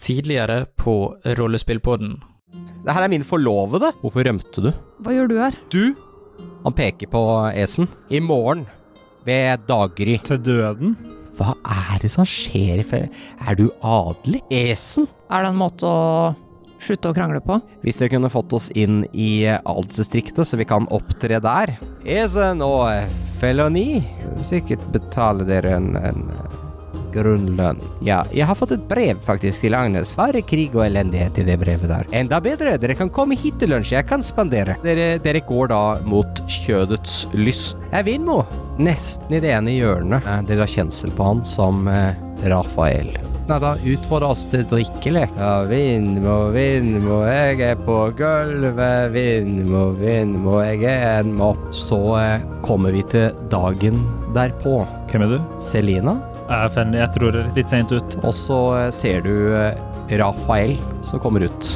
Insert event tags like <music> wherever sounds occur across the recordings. tidligere på Rollespillpodden. Det her er min forlovede. Hvorfor rømte du? Hva gjør du her? Du, Han peker på Esen. I morgen, ved daggry. Til døden? Hva er det som skjer i ferie? Er du adelig? Esen? Er det en måte å slutte å krangle på? Hvis dere kunne fått oss inn i adelsdistriktet, så vi kan opptre der. Esen og Feloni. Sikkert betale dere en, en eh, grunnlønn. Ja, jeg har fått et brev faktisk til Agnes. Fare krig og elendighet i det brevet der. Enda bedre, dere kan komme hit til lunsj, jeg kan spandere. Dere, dere går da mot kjødets lyst. Jeg vinner nå. Nesten i det ene hjørnet. Eh, Dere har kjensel på han som eh, Rafael. Nei da, utfordre oss til drikkelek. Ja, Vindmo, Vindmo, jeg er på gulvet. Vindmo, Vindmo, jeg er en mopp. Så eh, kommer vi til dagen derpå. Hvem er du? Selina, Jeg, er Fenny, jeg tror det er litt sent ut. og så eh, ser du eh, Rafael som kommer ut.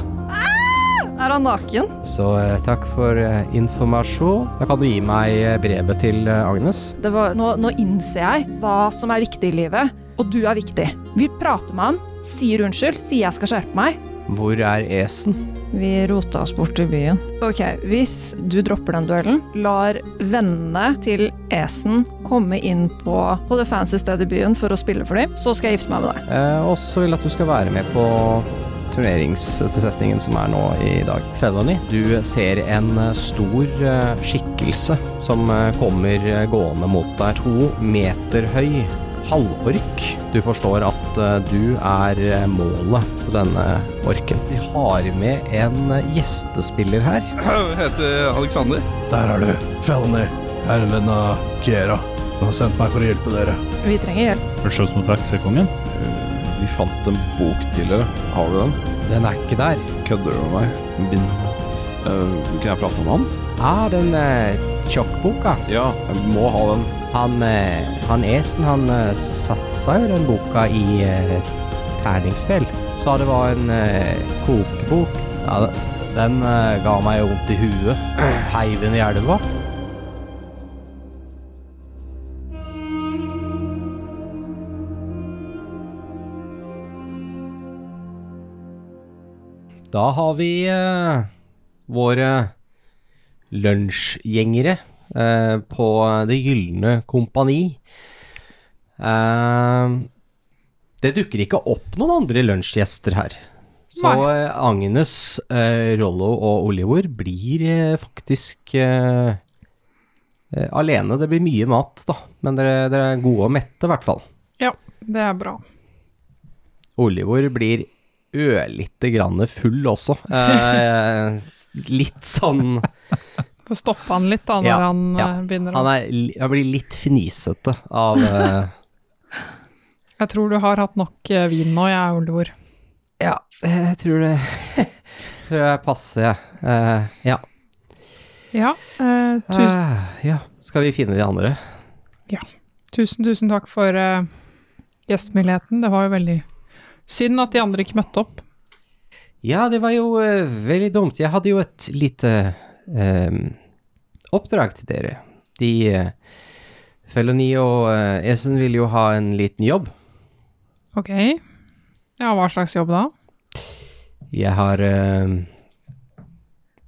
Er han naken? Så eh, takk for eh, informasjon. Da kan du gi meg eh, brevet til eh, Agnes. Det var, nå, nå innser jeg hva som er viktig i livet, og du er viktig. Vi prater med han, sier unnskyld, sier jeg skal skjerpe meg. Hvor er Esen? Vi rota oss bort i byen. Ok, hvis du dropper den duellen, lar vennene til Esen komme inn på, på det fancy stedet i byen for å spille for dem, så skal jeg gifte meg med deg. Eh, og så vil jeg at du skal være med på turneringstilsetningen som er nå i dag. Felony, du ser en eh, stor eh, skikkelse som eh, kommer eh, gående mot deg. To meter høy halvork. Du forstår at eh, du er eh, målet til denne orken. Vi har med en eh, gjestespiller her. Jeg heter Alexander. Der er du, Felony. Jeg er en venn av Kiera. Hun har sendt meg for å hjelpe dere. Vi trenger hjelp. Høres ut som taxikongen. Vi fant en bok tidligere. Har du den? Den er ikke der. Kødder du med meg? Bind. Eh, kan jeg prate med han? Er den eh, tjokkboka? Ja, jeg må ha den. Han, eh, han Esen, han eh, satsa jo den boka i eh, terningsspill. Sa det var en eh, kokebok. Ja, den, den eh, ga meg vondt i <clears throat> huet. Heiv den i elva. Da har vi eh, våre lunsjgjengere eh, på Det gylne kompani. Eh, det dukker ikke opp noen andre lunsjgjester her. Så eh, Agnes, eh, Rollo og Oliver blir eh, faktisk eh, eh, alene. Det blir mye mat, da. Men dere, dere er gode og mette, i hvert fall. Det er bra. Olivor blir ørlite grann full også. Eh, <laughs> litt sånn Få stoppe han litt da, når Ja, han ja. eh, begynner å Han, er, li- han blir litt fnisete <laughs> av eh, Jeg tror du har hatt nok eh, vin nå, jeg, Oliver. Ja, jeg tror det <laughs> Tror jeg passer, jeg. Eh, ja. Ja, eh, tusen, Eh, ja. Skal vi finne de andre? tusen, tusen takk for eh, gjestmildheten. Det var jo veldig synd at de andre ikke møtte opp. Ja, det var jo eh, veldig dumt. Jeg hadde jo et lite eh, oppdrag til dere. De eh, Felony og eh, Esen ville jo ha en liten jobb. Ok. Ja, hva slags jobb da? Jeg har eh,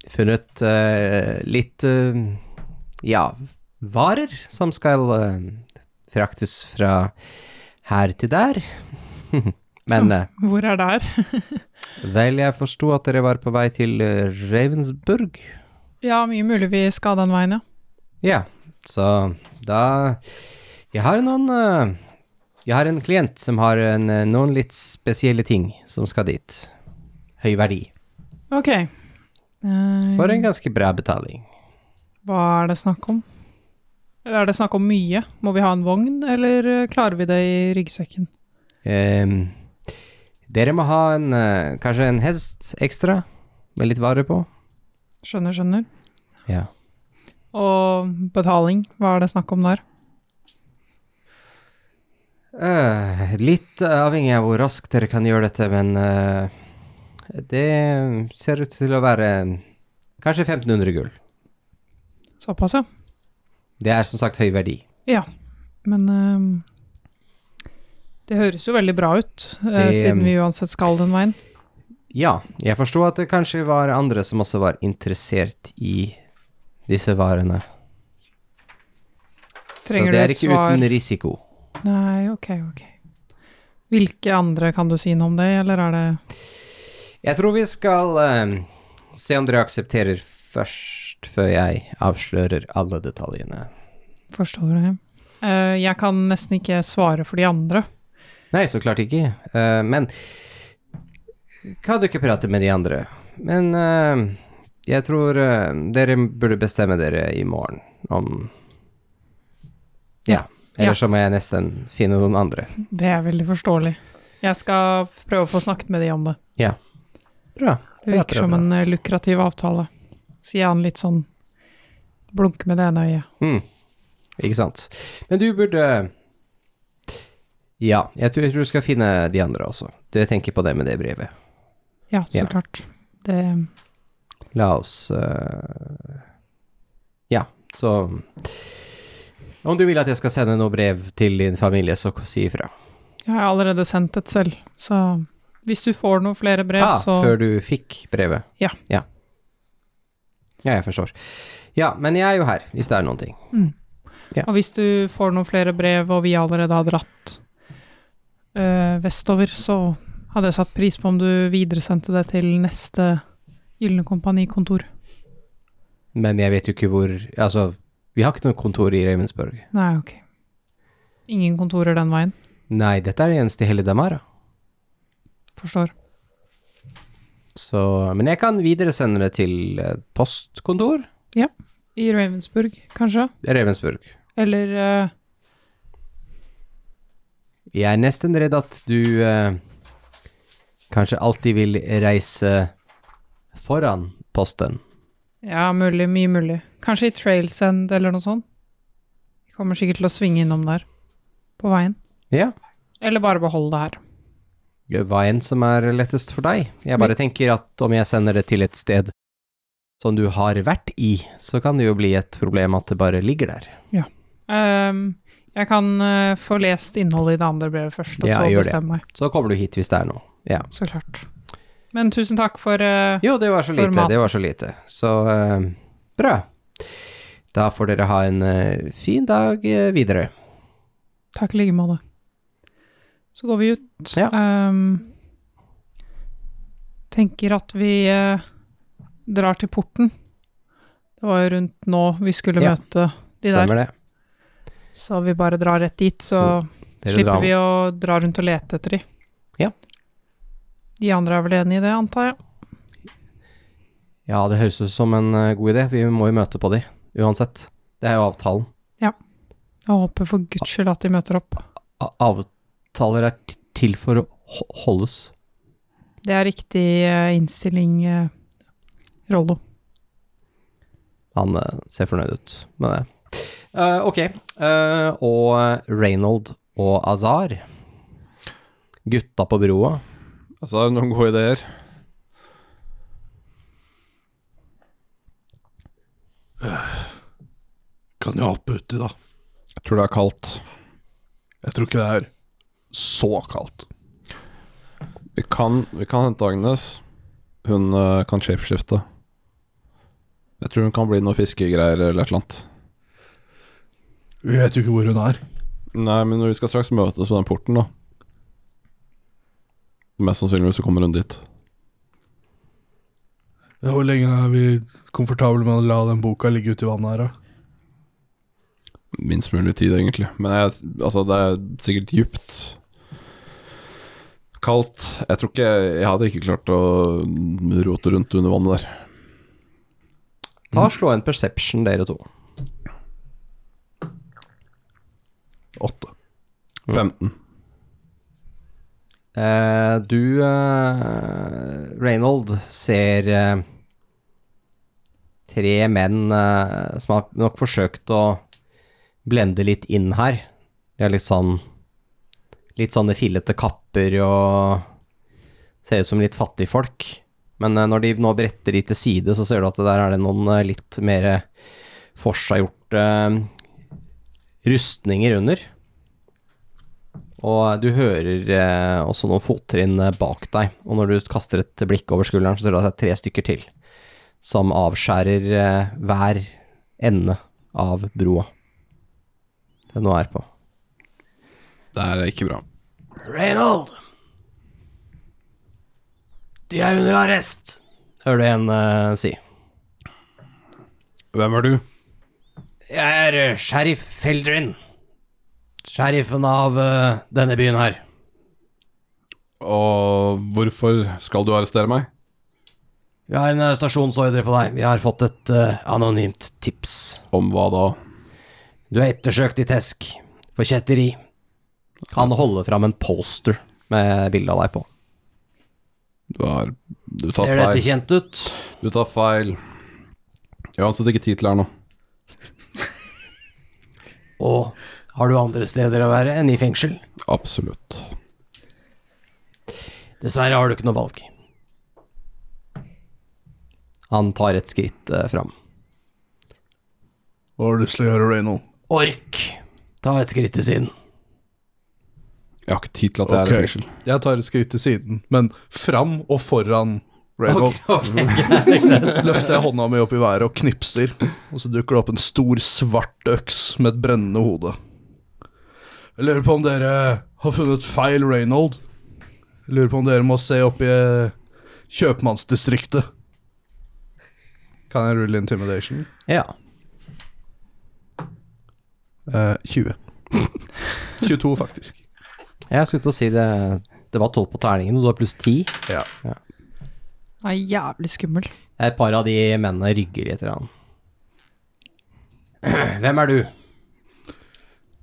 funnet eh, litt eh, ja, varer som skal eh, fraktes fra her til der. <laughs> Men eh, Hvor er der? vel, jeg forsto at dere var på vei til eh, Ravensburg. Ja, mye mulig vi skal den veien, ja. Ja, så da Jeg har noen eh, Jeg har en klient som har en, eh, noen litt spesielle ting som skal dit. Høy verdi. Ok. Eh, For en ganske bra betaling. Hva er det snakk om? Er det snakk om mye? Må vi ha en vogn, eller eh, klarer vi det i ryggsekken? Ehm, dere må ha en, eh, kanskje en hest ekstra, med litt varer på. Skjønner, skjønner. Ja. Og betaling, hva er det snakk om der? Eh, litt avhengig av hvor raskt dere kan gjøre dette, men eh, det ser ut til å være eh, kanskje 1500 gull. Såpass, ja. Det er som sagt høy verdi. Ja, men eh, ehm, Det høres jo veldig bra ut, eh, Det- ehm, siden vi uansett skal den veien. Ja, jeg forsto at det kanskje var andre som også var interessert i disse varene. Så det Trenger du er et ikke svar? uten risiko. Nei, ok, ok. Hvilke andre kan du si noe om det, eller er det Jeg tror vi skal eh, se om dere aksepterer først, før jeg avslører alle detaljene. Forstår du det? Eh, jeg kan nesten ikke svare for de andre. Nei, så klart ikke, eh, men kan du ikke prate med de andre? Men eh, jeg tror eh, dere burde bestemme dere i morgen om Ja. Eller så må jeg nesten finne noen andre. Det er veldig forståelig. Jeg skal prøve å få snakket med de om det. Bra. Det bra, virker bra, som bra. en eh, lukrativ avtale. Sier han litt sånn blunker med det ene øyet. Mm. Ikke sant. Men du burde Ja, jeg tror, jeg tror du skal finne de andre også. Du tenker på det med det brevet. Ja, så Ja. klart. Det, La oss eh, Ja, så Om du vil at jeg skal sende noe brev til din familie, så si ifra. jeg har allerede sendt et selv, så hvis du får noen flere brev, Ah, så før du fikk brevet? Ja. ja. Ja, jeg forstår. Ja, men jeg er jo her, hvis det er noen ting. ja. Og hvis du får noen flere brev, og vi allerede har dratt eh, vestover, så hadde jeg satt pris på om du videresendte det til neste Gylne kompani-kontor. Men jeg vet jo ikke hvor Altså, vi har ikke noe kontor i Ravensburg. Nei, ok. Ingen kontorer den veien. Nei, dette er det eneste i hele Damara. Forstår. Så Men jeg kan videresende det til eh, postkontor I Ravensburg, kanskje? Ravensburg. Eller eh, Jeg er nesten redd at du eh, kanskje alltid vil reise foran posten. Ja, mulig. Mye mulig. Kanskje i Trailsend eller noe sånt. Vi kommer sikkert til å svinge innom der på veien. Ja. Eller bare beholde det her. Hva enn som er lettest for deg. Jeg bare tenker at om jeg sender det til et sted som du har vært i, så kan det jo bli et problem at det bare ligger der. Ehm, jeg kan eh, få lest innholdet i det andre brevet først, og Ja, så gjør det. bestemme meg. Så kommer du hit hvis det er noe. Ja. Så klart. Men tusen takk for eh, Jo, det var så lite, Format. det var så lite. Så eh, bra. Da får dere ha en eh, fin dag eh, videre. Takk i like måte. Så går vi ut. Ja. Ehm, tenker at vi eh, drar til porten. Det var jo rundt nå vi skulle Ja. møte de der. Stemmer det. Så vi bare drar rett dit, så Dere slipper drar- vi å dra rundt og lete etter de. Ja. De andre er vel enig i det, antar jeg. Ja, det høres ut som en eh, god idé. Vi må jo møte på de, uansett. Det er jo avtalen. Jeg håper for guds skyld at de møter opp. A avtaler er t- til for å ho holdes. Det er riktig eh, innstilling, eh, Rollo. Han eh, ser fornøyd ut med det. Eh, ok, eh, og eh, Reynold og Azar. Gutta på broa. Altså, er det noen gode ideer? Kan jeg hoppe uti, da? Jeg tror det er kaldt. Jeg tror ikke det er så kaldt. Vi kan, vi kan hente Agnes. Hun eh, kan shapeskifte. Jeg tror hun kan bli noe fiskegreier eller et eller annet. Vi vet jo ikke hvor hun er. Nei, men vi skal straks møtes på den porten, da. Mest sannsynligvis så kommer hun dit. Hvor lenge er vi komfortable med å la den boka ligge ute i vannet her, da? Minst mulig tid, egentlig. Men jeg, altså, det er sikkert djupt. Kaldt. Jeg tror ikke Jeg hadde ikke klart å rote rundt under vannet der. Ta Mhm. og Slå en perception, dere to. 8. 15. Eh, du, eh, Reynold, ser eh, tre menn eh, som har nok forsøkt å blende litt inn her. De har litt sånn Litt sånne fillete kapper og ser ut som litt fattige folk. Men eh, når de nå bretter de til side, så ser du at det der er det noen eh, litt mer forseggjorte eh, rustninger under. Og du hører eh, også noen fottrinn eh, bak deg, og når du kaster et blikk over skulderen, så ser du at det er tre stykker til som avskjærer eh, hver ende av broa det nå er på. Det er ikke bra. Reynold! De er under arrest, hører du en eh, si. Hvem er du? Jeg er eh, sheriff Feldrin. Sheriffen av eh, denne byen her. Og hvorfor skal du arrestere meg? Vi har en eh, stasjonsordre på deg. Vi har fått et eh, anonymt tips. Om hva da? Du er ettersøkt i Tesk for kjetteri. Han holder fram en poster med bilde av deg på. Du har Du tar Ser feil. dette kjent ut? Du tar feil. Jeg har uansett ikke tid til det her nå. Og har du andre steder å være enn i fengsel? Absolutt. Dessverre har du ikke noe valg. Han tar et skritt eh, fram. Hva har du lyst til å gjøre, Reynold? Ork, ta et skritt til siden. Jeg har ikke tid til at jeg er i Ok. fengsel. Jeg tar et skritt til siden, men fram og foran Reynold. <laughs> Løfter jeg hånda mi opp i været og knipser, og så dukker det opp en stor, svart øks med et brennende hode. Jeg lurer på om dere har funnet feil Reynold. Jeg lurer på om dere må se opp i eh, kjøpmannsdistriktet. Kan jeg rulle intimidation? <laughs> Ja. Eh, <laughs> 20. 22, faktisk. Jeg skulle til å si det Det var tolv på terningen, og du har pluss ti. Ja. Han er jævlig skummel. Et par av de mennene rygger litt. grann. <clears throat> Hvem er du?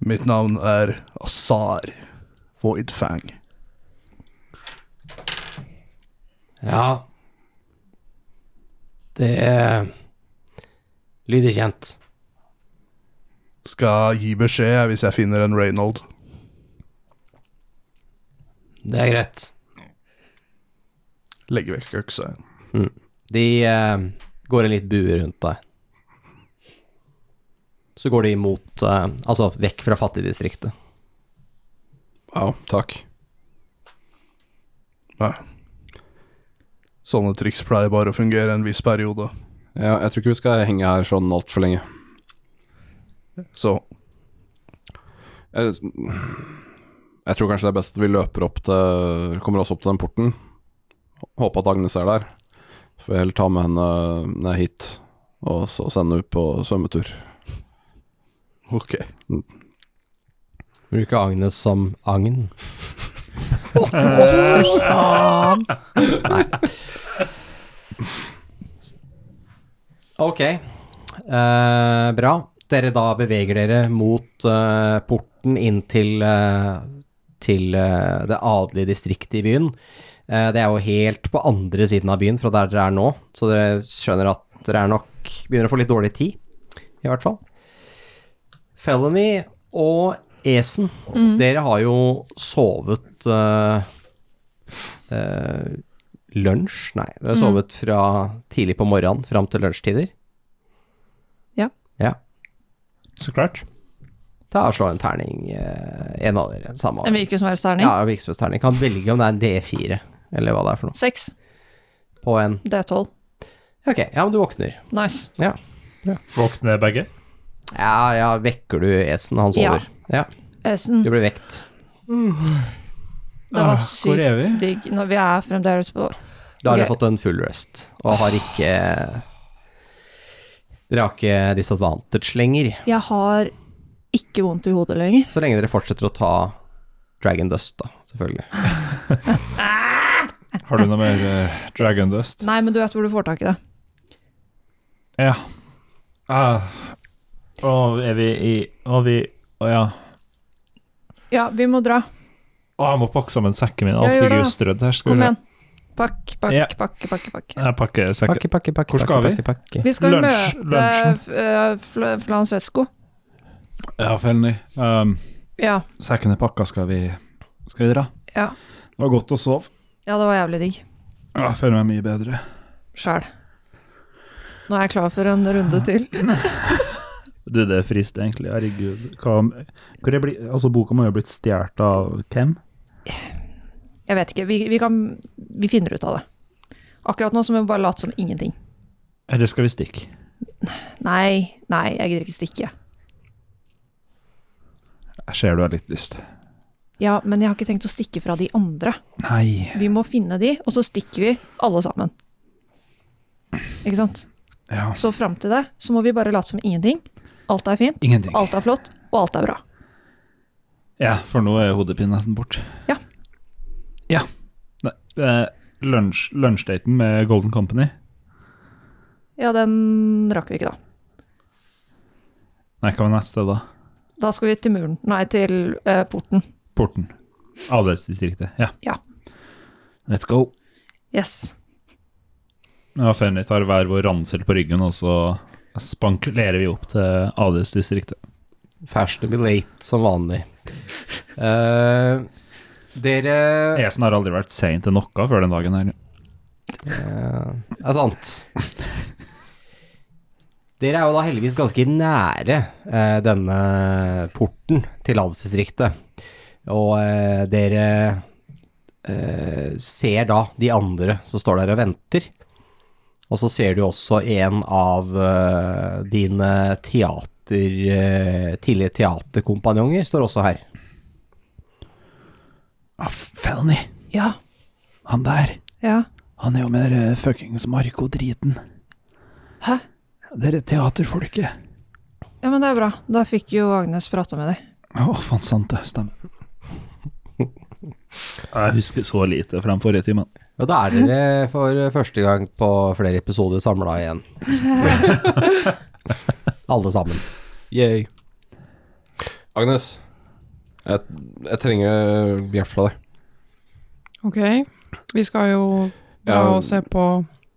Mitt navn er Azar Voidfang. Ja. Det eh, lyder kjent. Skal gi beskjed jeg, hvis jeg finner en Reynold. Det er greit. Legger vekk øksa. De eh, går en litt bue rundt deg. Så går de mot eh, Altså vekk fra fattigdistriktet. Wow, takk. Nei. Sånne triks pleier bare å fungere en viss periode. Ja, jeg tror ikke vi skal henge her sånn altfor lenge. Så Jeg, jeg tror kanskje det er best at vi løper opp til Kommer oss opp til den porten. Håper at Agnes er der. Så får jeg heller ta med henne ned hit, og så sende henne på svømmetur. ok. Bruker Agnes som agn. Nei. Ok, eh, bra. Dere da beveger dere mot eh, porten inn til, eh, til eh, det adelige distriktet i byen. Eh, det er jo helt på andre siden av byen fra der dere er nå, så dere skjønner at dere er nok begynner å få litt dårlig tid, i hvert fall. Felony og Esen, dere har jo sovet eh, eh, lunsj? Nei, dere har sovet fra tidlig på morgenen fram til lunsjtider. Ja. ja. Så klart. Ta og Slå en terning, eh, en av dere. Samme En virksomhetsterning. Ja, virksomhetsterning. Kan velge om det er en D4, eller hva det er for noe. Seks. På en D12. Ok, ja, men du våkner. Nice. Ja, Våkne begge. ja, ja vekker du Esen, han sover. Ja. Esen, Du blir vekt. det var Ah, hvor er vi? sykt digg når vi er fremdeles på Da har dere Ok. fått en full rest, og har ikke Dere har ikke disadvantage lenger, Jeg har ikke vondt i hodet lenger. så lenge dere fortsetter å ta Dragon Dust, da, selvfølgelig. Har du noe mer eh, Dragon Dust? Nei, men du vet hvor du får tak i det. Ja. Ah. Og er vi i Og vi Å ja. Ja, vi må dra. Å, jeg må pakke sammen sekken min. Alt Ja, gjør ligger det. jo strødd her. Skal Kom vi- igjen. Pakk, pakk, Ja. pakke, pakke, pakke. Jeg pakker sekken. Pakke, pakke, pakke, Hvor skal pakke, vi? pakke, pakke. Vi skal jo Lunsj- møte lunsjen. eh, Fl- Flansvesko. Ja, Felny. Um, Ja, sekken er pakka, skal vi Skal vi dra? Ja. Det var godt å sove. ja, det var jævlig digg. Ja, Jeg føler meg mye bedre. Ah. Sjæl. Nå er jeg klar for en runde til. Du, det er frist, egentlig. Herregud. Hva, hvor er bli, altså, boka må jo ha blitt stjålet av hvem? Jeg vet ikke. Vi, vi, kan, vi finner ut av det. Akkurat nå så må vi bare late som ingenting. Eller skal vi stikke? Nei, nei, jeg gidder ikke stikke. Jeg ser du har litt lyst. Ja, men jeg har ikke tenkt å stikke fra de andre. Nei. Vi må finne de, og så stikker vi alle sammen. Ikke sant? Ja. Så fram til det så må vi bare late som ingenting. Alt er fint, Ingenting. alt er flott, og alt er bra. Ja, for nå er hodepinen nesten bort. Ja. Ja. Nei, eh, lunsj- Lunsjdaten med Golden Company. Ja, den rakk vi ikke, da. Nei, hva var neste, da? Da skal vi til muren. Nei, til eh, porten. Porten. Adelsdistriktet. Ja. Ja. Let's go. Yes. Ja, Fenny tar hver vår ransel på ryggen, og så spankulerer vi opp til adelsdistriktet. Fashionably late som vanlig. Eh, dere Esen har aldri vært sein til noe før den dagen her. Eh, Det er sant. Dere er jo da heldigvis ganske nære eh, denne porten til adelsdistriktet. Og eh, dere eh, ser da de andre som står der og venter. Og så ser du også en av eh, dine teater, eh, tidligere teaterkompanjonger står også her. Ah, Felny, Ja. han der, Ja. han er jo med dere fuckings Marco-driten. Hæ? Dere teaterfolket. Ja, men det er bra. Da fikk jo Agnes prata med deg. Å, faen sant det, stemmer. Jeg husker så lite fra den forrige timen. Og da er dere for første gang på flere episoder samla igjen. Alle sammen. Yay. Agnes, jeg, jeg trenger hjelp fra deg. Ok, vi skal jo dra Ja. og se på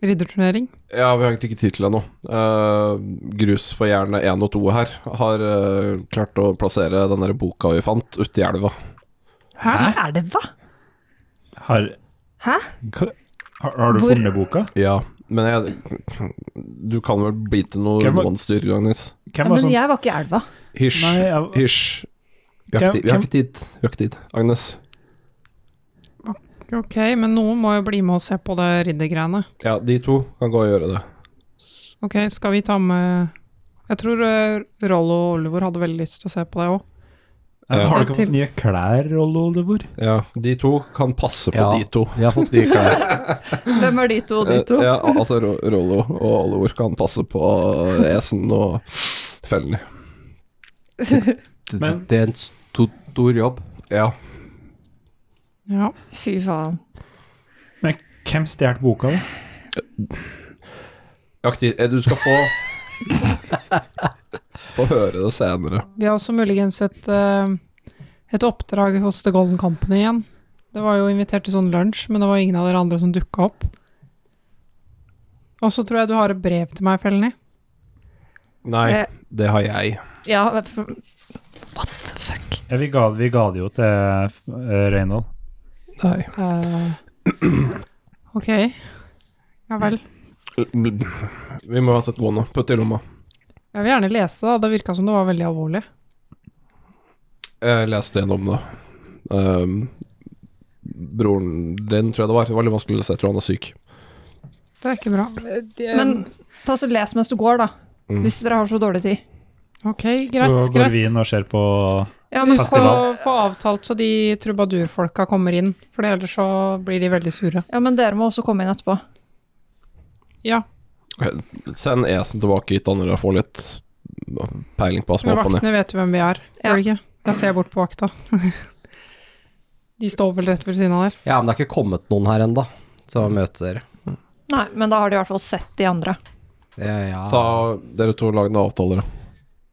ridderturnering. Ja, vi har egentlig ikke tid til det nå. Eh, grus for jern 1 og 2 her har eh, klart å plassere den der boka vi fant, uti elva. Hæ? Er det hva? Har, Hæ? hva- har, har du Hvor- funnet boka? Ja, men jeg Du kan vel bli til noe Hvem var- vanstyr, Agnes? Ja, Hvem var men sånn jeg var ikke i elva. Hysj. Nei, jeg, Hysj. Vi har, ikke, Hvem- tid- vi, har ikke tid. vi har ikke tid. Agnes. Ok, men noen må jo bli med og se på det riddergreiene. Ja, de to kan gå og gjøre det. Ok, skal vi ta med Jeg tror eh, Rollo og Oliver hadde veldig lyst til å se på det òg. jeg, har dere Til- fått nye klær, Rollo Olivor? Ja, de to kan passe på Ja. de to. Vi har fått <laughs> nye klær. Hvem er de to, de to? Eh, Ja, altså Ro- Rollo og Oliver kan passe på Esen og Felny. Men- Det er en stor, stor jobb. Ja. Ja. Fy faen. Men hvem stjal boka, da? Jeg har ikke tid. Eh, Du skal få <laughs> Få høre det senere. Vi har også muligens et, eh, et oppdrag hos The Golden Company igjen. Det var jo invitert til sånn lunsj, men det var ingen av dere andre som dukka opp. Og så tror jeg du har et brev til meg, Felny. Nei, Eh. det har jeg. Ja, for- what the fuck? Ja, vi, ga, vi ga det jo til eh, Reynold. Nei. Eh, <clears throat> ok. Ja vel. Vi må uansett gå nå. Putt det i lomma. Jeg vil gjerne lese det. da. Det virka som det var veldig alvorlig. Jeg leste gjennom det. Ehm, broren din, tror jeg det var. Det var litt vanskelig å lese. Jeg tror han er syk. Det er ikke bra. Men ta så les mens du går, da. Mm. Hvis dere har så dårlig tid. ok, greit. Så går greit. vi inn og ser på Ja, Vi men skal så Festival. få avtalt så de trubadurfolka kommer inn, for ellers så blir de veldig sure. Ja, men dere må også komme inn etterpå. Ja, Send Esen tilbake hit, han vil få litt peiling på hva som men er opp og ned. vaktene vet jo hvem vi er, Ja. gjør de ikke? Da ser jeg bort på vakta. <laughs> de står vel rett ved siden av der. Ja, men det har ikke kommet noen her ennå til å møte dere. Nei, men da har de i hvert fall sett de andre. Det, ja. Ta dere to og lag noen avtaler, da.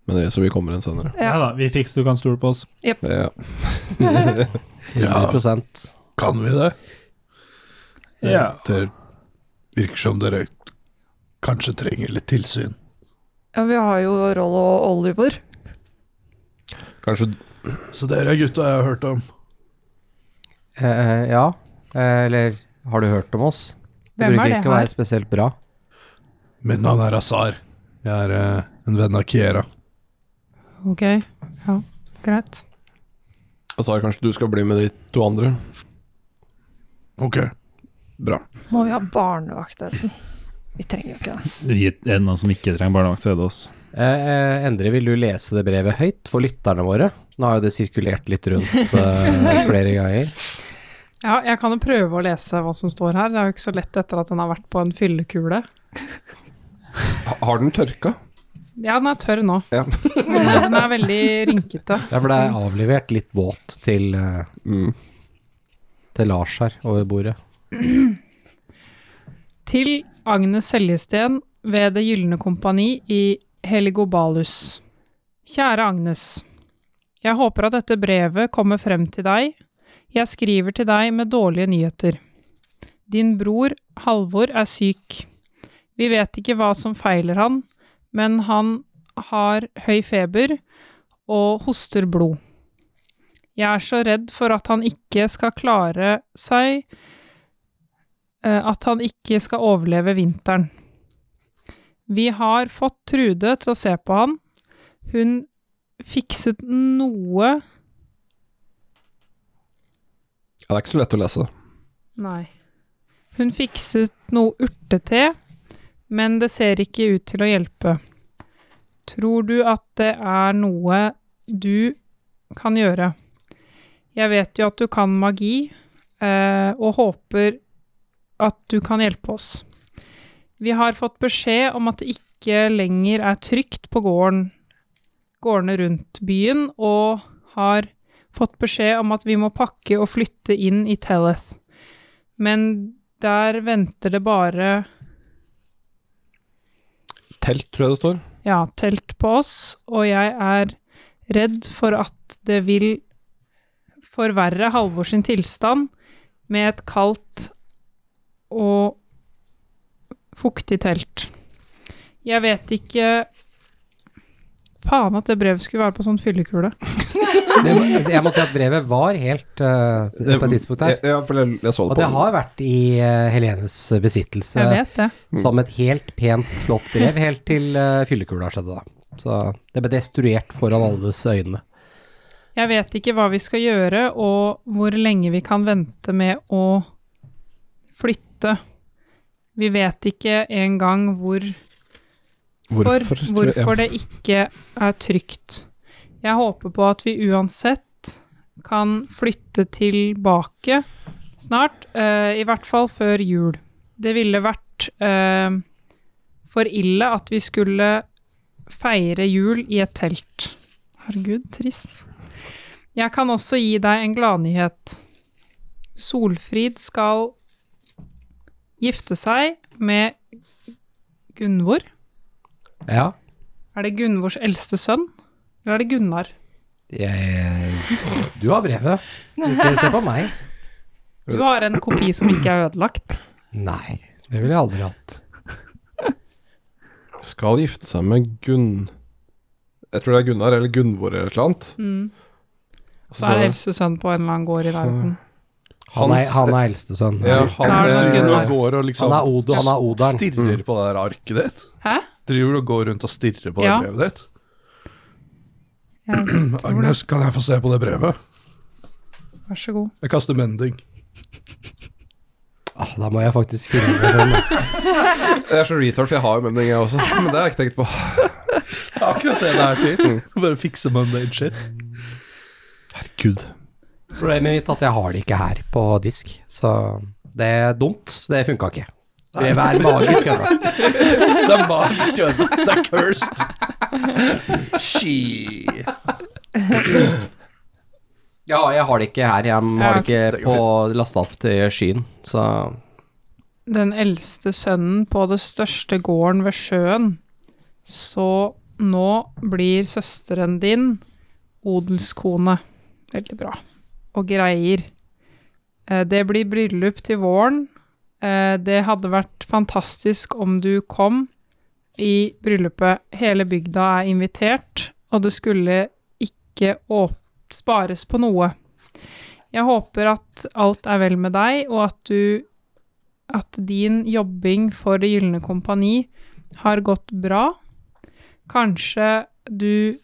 Men det, så vi kommer inn senere. Ja. Nei da, vi fikser, du kan stole på oss. Ja. <laughs> 100 Kan vi det? Eh, Ja. Det virker som dere kanskje trenger litt tilsyn. Ja, vi har jo Rollo og Oliver. Kanskje Så dere er gutta jeg har hørt om. Eh, ja, Eh, eller har du hørt om oss? Det Hvem er bruker det ikke å her? være spesielt bra. Mitt navn er Azar. Jeg er eh, en venn av Kiera. Ok, ja, greit. Og så er det kanskje du skal bli med de to andre. Ok. Bra. Må vi ha barnevakt, Esen? Vi trenger jo ikke det. Eh, Vi er det noen som ikke trenger barnevakt, så er det oss. Eh, eh, Endre, vil du lese det brevet høyt for lytterne våre? Nå har jo det sirkulert litt rundt <laughs> eh, flere ganger. Ja, jeg kan jo prøve å lese hva som står her. Det er jo ikke så lett etter at den har vært på en fyllekule. Ha- Har den tørka? Ja, den er tørr nå. Ja. <laughs> den er veldig rynkete. Jeg ble avlevert litt våt til, eh, Mm. til Lars her over bordet. Til Agnes Seljesten ved Det gylne kompani i Heligobalus. Kjære Agnes. Jeg håper at dette brevet kommer frem til deg. Jeg skriver til deg med dårlige nyheter. Din bror, Halvor, er syk. Vi vet ikke hva som feiler han, men han har høy feber og hoster blod. Jeg er så redd for at han ikke skal klare seg eh, at han ikke skal overleve vinteren. Vi har fått Trude til å se på han. Hun fikset noe Ja, det er ikke så lett å lese. Nei. Hun fikset noe urtete, men det ser ikke ut til å hjelpe. Tror du at det er noe du kan gjøre? Jeg vet jo at du kan magi, eh, og håper at du kan hjelpe oss. Vi har fått beskjed om at det ikke lenger er trygt på gården, gårdene rundt byen, og har fått beskjed om at vi må pakke og flytte inn i Telleth. Men der venter det bare Telt, tror jeg det står. ja, telt på oss, og jeg er redd for at det vil forverre Halvor sin tilstand med et kaldt og fuktig telt. Jeg vet ikke Faen at det brevet skulle være på sånn fyllekule. Det, jeg må si at brevet var helt eh, på et tidspunkt her. Ja, for jeg, jeg så det Og på det den. har vært i eh, Helenes besittelse Jeg vet det. Mm. som et helt pent, flott brev, helt til eh, fyllekula skjedde, da. Så det ble destruert foran alles øyne. Jeg vet ikke hva vi skal gjøre, og hvor lenge vi kan vente med å flytte. Vi vet ikke engang hvor, tror for, jeg- hvorfor det ikke er trygt. Jeg håper på at vi uansett kan flytte tilbake snart, eh, i hvert fall før jul. Det ville vært eh, for ille at vi skulle feire jul i et telt. Herregud, trist. Jeg kan også gi deg en gladnyhet. Solfrid skal gifte seg med Gunvor. Ja. Er det Gunvors eldste sønn? Eller er det Gunnar? Jeg, du har brevet. Ikke se på meg. Du har en kopi som ikke er ødelagt. Nei, det ville jeg aldri hatt. Skal gifte seg med Gunn... Jeg tror det er Gunnar eller Gunvor eller et eller annet. Mm. Så Så er står det det eldste sønn på en eller annen gård i verden. Han er, Hans- han er eldstesønn. Ja, han, Ja, det var eh, Gunnar. går og liksom Han er Odo, han er Oderen. Mm. stirrer på det der arket ditt. Hæ? Driver du og går rundt og stirrer på Ja. det brevet ditt? Jeg tror det. <clears throat> Agnes, kan jeg få se på det brevet? Vær så god. Jeg kaster mending. <laughs> Ah, da må jeg faktisk finne den. Jeg er så retard, for jeg har jo mending, jeg også. <laughs> Men det har jeg ikke tenkt på. Akkurat det det er til. Mm. Bare fikse mundane shit. Gud. <laughs> Problemet mitt er at jeg har det ikke her på disk, så det er dumt. Det funka ikke. Brevet er magisk. altså. Det er magisk, vet du. Det er cursed. She. Ja, jeg har det ikke her. Jeg har det ikke Det går på lasta opp til skyen, så den eldste sønnen på det største gården ved sjøen, så nå blir søsteren din odelskone. Veldig bra. Og greier. Eh, Det blir bryllup til våren. Eh, Det hadde vært fantastisk om du kom i bryllupet. Hele bygda er invitert, og det skulle ikke å spares på noe. Jeg håper at alt er vel med deg, og at du at din jobbing for Det gylne kompani har gått bra. Kanskje du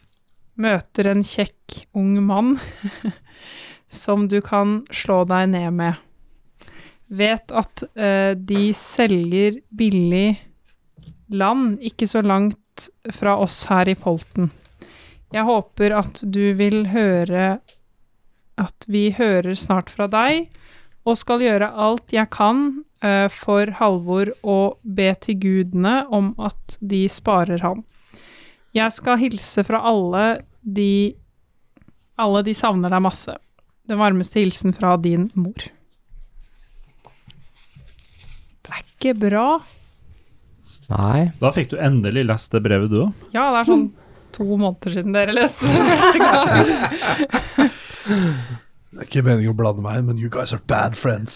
møter en kjekk ung mann <laughs> som du kan slå deg ned med. Vet at eh, de selger billig land ikke så langt fra oss her i Polten. Jeg håper at du vil høre at vi hører snart fra deg, og skal gjøre alt jeg kan eh, for Halvor å be til gudene om at de sparer ham. Jeg skal hilse fra alle de Alle de savner deg masse. Den varmeste hilsen fra din mor. Det er ikke bra. Nei. Da fikk du endelig lest det brevet, du òg. Ja, det er sånn to måneder siden dere leste det første gang. Det er ikke meningen å blande meg inn, men you guys are bad friends.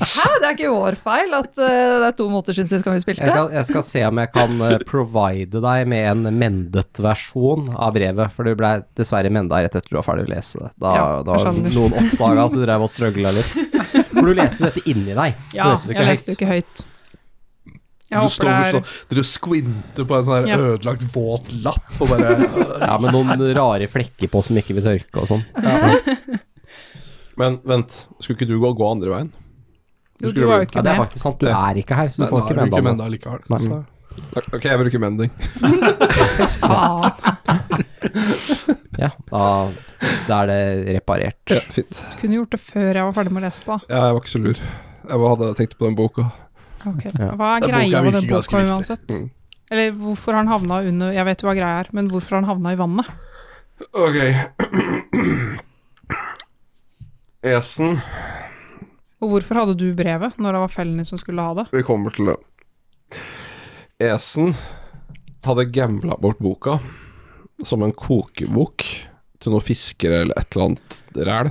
Hæ, det er ikke vår feil at eh, det er to måneder siden sist gang vi Jeg, spilte. kan, jeg skal se om jeg kan eh, provide deg med en mendet versjon av brevet, for du ble dessverre menda rett etter du var ferdig å lese det. Da, Ja, jeg da skjønner. noen oppdaga at du drev og strøgla litt. For du leste jo dette inni deg. Du Ja, leste <laughs> det ikke jeg leste høyt. jo ikke høyt. Jeg du håper står det sånn, dere skvinter på en sånn her Ja. ødelagt våt lapp og <laughs> bare Ja, med noen rare flekker på som ikke vil tørke og sånn. <laughs> Men vent, skulle ikke du gå, gå andre veien? er Jo, du var jo Ja, ikke det er med. faktisk sant, du er ikke her, så du Nei, får da ikke er du ikke menda noe. menda likevel. Nei. Så- Ok, jeg bruker mending. Faen. Ja, da, da er det reparert. Ja, <laughs> fint. Kunne gjort det før jeg var ferdig med å lese, da. Ja, jeg var ikke så lur. Jeg hadde tenkt på den boka. Ok. Ja. Hva er Den boka greia med virker den ganske boka viktig. uansett? Eller hvorfor han havna under Jeg vet jo hva greia er, men hvorfor han havna i vannet? Ok. <clears throat> Esen Og hvorfor hadde du brevet når det var fellene som skulle ha det? Vi kommer til det. Esen hadde gambla bort boka som en kokebok til noen fiskere eller et eller annet ræl.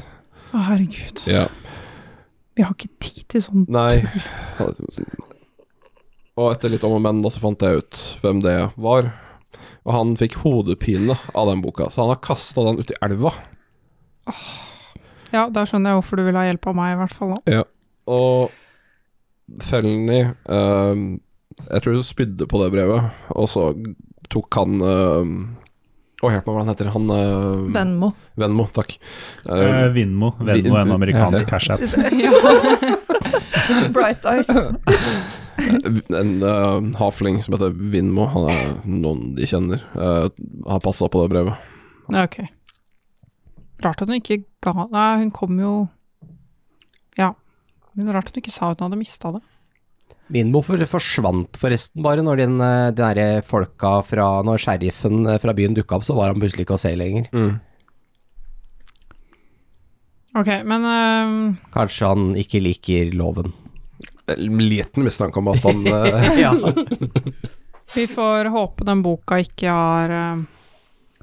Å, herregud. Ja. Vi har ikke tid til sånn Nei. Og etter litt om og men, da så fant jeg ut hvem det var. Og han fikk hodepine av den boka, så han har kasta den uti elva. Ja, da skjønner jeg hvorfor du vil ha hjelp av meg, i hvert fall. <laughs> da. Og Felny eh, Jeg tror hun spydde på det brevet, og så tok han eh, Å, hjelp meg, hva han heter han? eh, Venmo. Venmo, takk. Eh, Eh, Vinmo. Venmo er en amerikansk cash-app. Bright Eyes. en uh, hafling som heter Vinmo, han er noen de kjenner, eh, har passa på det brevet. Ja, ok. Rart at hun ikke ga Nei, hun kom jo Ja. Men rart at hun ikke sa at hun hadde mista det. Min morfar forsvant forresten bare når den, eh, de derre folka fra Når sheriffen eh, fra byen dukka opp, så var han plutselig ikke å se lenger. Ok, men ehm, øhm, Kanskje han ikke liker loven. En liten mistanke om at han eh, Ja. vi får håpe den boka ikke har øhm,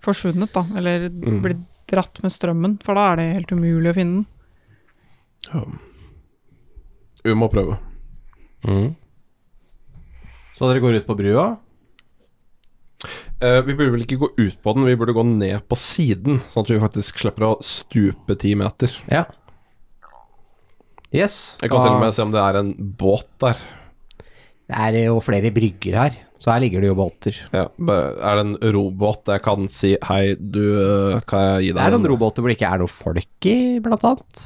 forsvunnet, da. Eller blitt dratt med strømmen, for da er det helt umulig å finne den. Vi må prøve. Så dere går ut på brua? Eh, vi burde vel ikke gå ut på den, vi burde gå ned på siden, sånn at vi faktisk slipper å stupe ti meter. Ja. Yes. Jeg kan til og med se om det er en båt der. Da- Det er jo flere brygger her, så her ligger det jo båter. Ja, bare, er det en robåt jeg kan si hei, du, eh, kan jeg gi deg Det er en- noen robåter hvor det ikke er noe folk i, blant annet.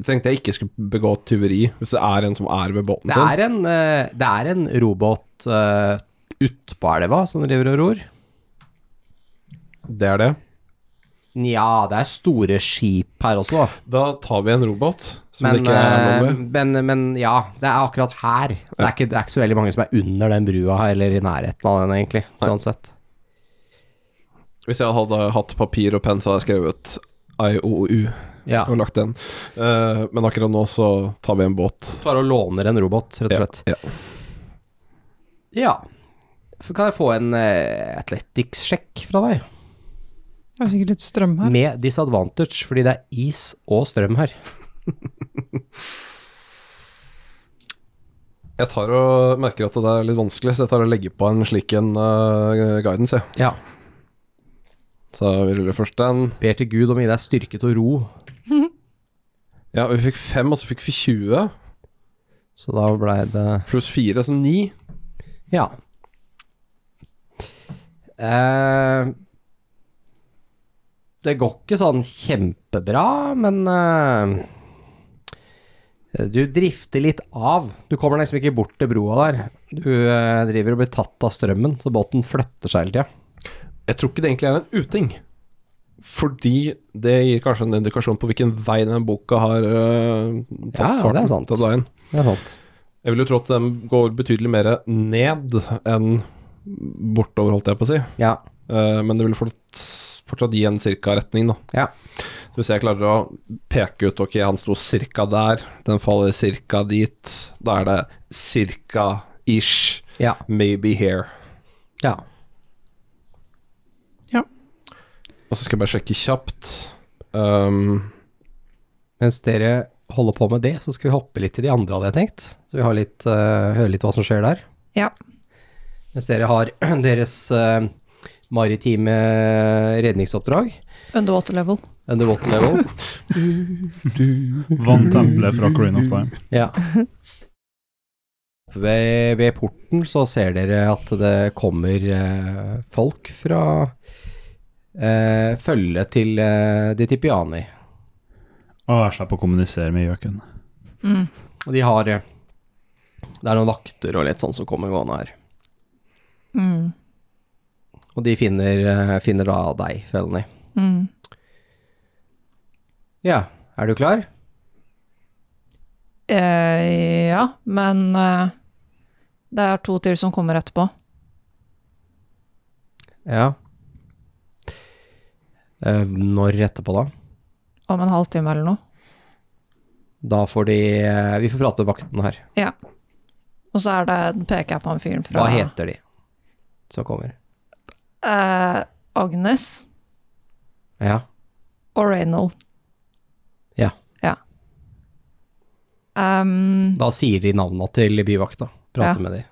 Tenkte jeg ikke skulle begå tyveri, hvis det er en som er ved båten Det sin. er en, eh, det er en robåt uh, utpå elva som driver og ror. Det er det. Nja, det er store skip her også. Da tar vi en robåt som det Men, ikke er eh, noe med. men, men ja, det er akkurat her. Det er, ikke, det er ikke så veldig mange som er under den brua her, eller i nærheten av den, egentlig. Sånn sett. Hvis jeg hadde hatt papir og penn, så hadde jeg skrevet IOU Ja. og lagt den. Eh, men akkurat nå så tar vi en båt. Tar og låner en robot, rett og slett. Ja. Ja. For kan jeg få en uh, athletics-sjekk fra deg? Det er sikkert litt strøm her. Med disadvantage, fordi det er is og strøm her. Jeg tar og merker at det er litt vanskelig, så jeg tar og legger på en slik en eh, guidance, jeg. Ja. Så vi ruller først den. Ber til Gud om å gi deg styrke til å ro, Ja, vi fikk fem, og så fikk vi 20. så da blei det Pluss fire, så ni. Ja. Eh, det går ikke sånn kjempebra, men eh, du drifter litt av. Du kommer liksom ikke bort til broa der. Du eh, driver og blir tatt av strømmen, så båten flytter seg hele tida. Jeg tror ikke det egentlig er en uting. Fordi det gir kanskje en indikasjon på hvilken vei den boka har øh, tatt Ja, ja, farten. det er sant. tatt veien. Det er sant. Jeg vil jo tro at den går betydelig mer ned enn bortover, holdt jeg på å si. Ja. Eh, men det vil fort- fortsatt gi en cirka retning, da. Ja. Så hvis jeg klarer å peke ut ok, han sto cirka der, den faller cirka dit, da er det cirka ish, Ja. maybe here. ja. Og så skal jeg bare sjekke kjapt. Um, Mens dere holder på med det, så skal vi hoppe litt til de andre, hadde jeg tenkt. Så vi har litt, eh, hører litt hva som skjer der. <laughs> Ja. Mens dere har <clears throat> deres eh, maritime eh, redningsoppdrag. Underwater level. Underwater level. Van Temple fra Corin of Time. <clears throat> Ja. Ved, ved porten så ser dere at det kommer eh, folk fra eh, følget til eh, de Tipiani. Og jeg slapp å kommunisere med gjøken. Mm. Og de har eh, Det er noen vakter og litt sånn som kommer gående her. Mm. Og de finner, eh, finner da deg, Felny. Mm. Ja, er du klar? Eh, ja, men eh, det er to til som kommer etterpå. Ja. Eh, når etterpå, da? Om en halvtime eller noe. Da får de eh, Vi får prate med vakten her. Og så er det en peker jeg på han fyren fra Hva heter de som kommer? Eh, Agnes Ja. og Reynold. Ja. Ja. Ehm, Da sier de navna til byvakta. Prater Ja. med de.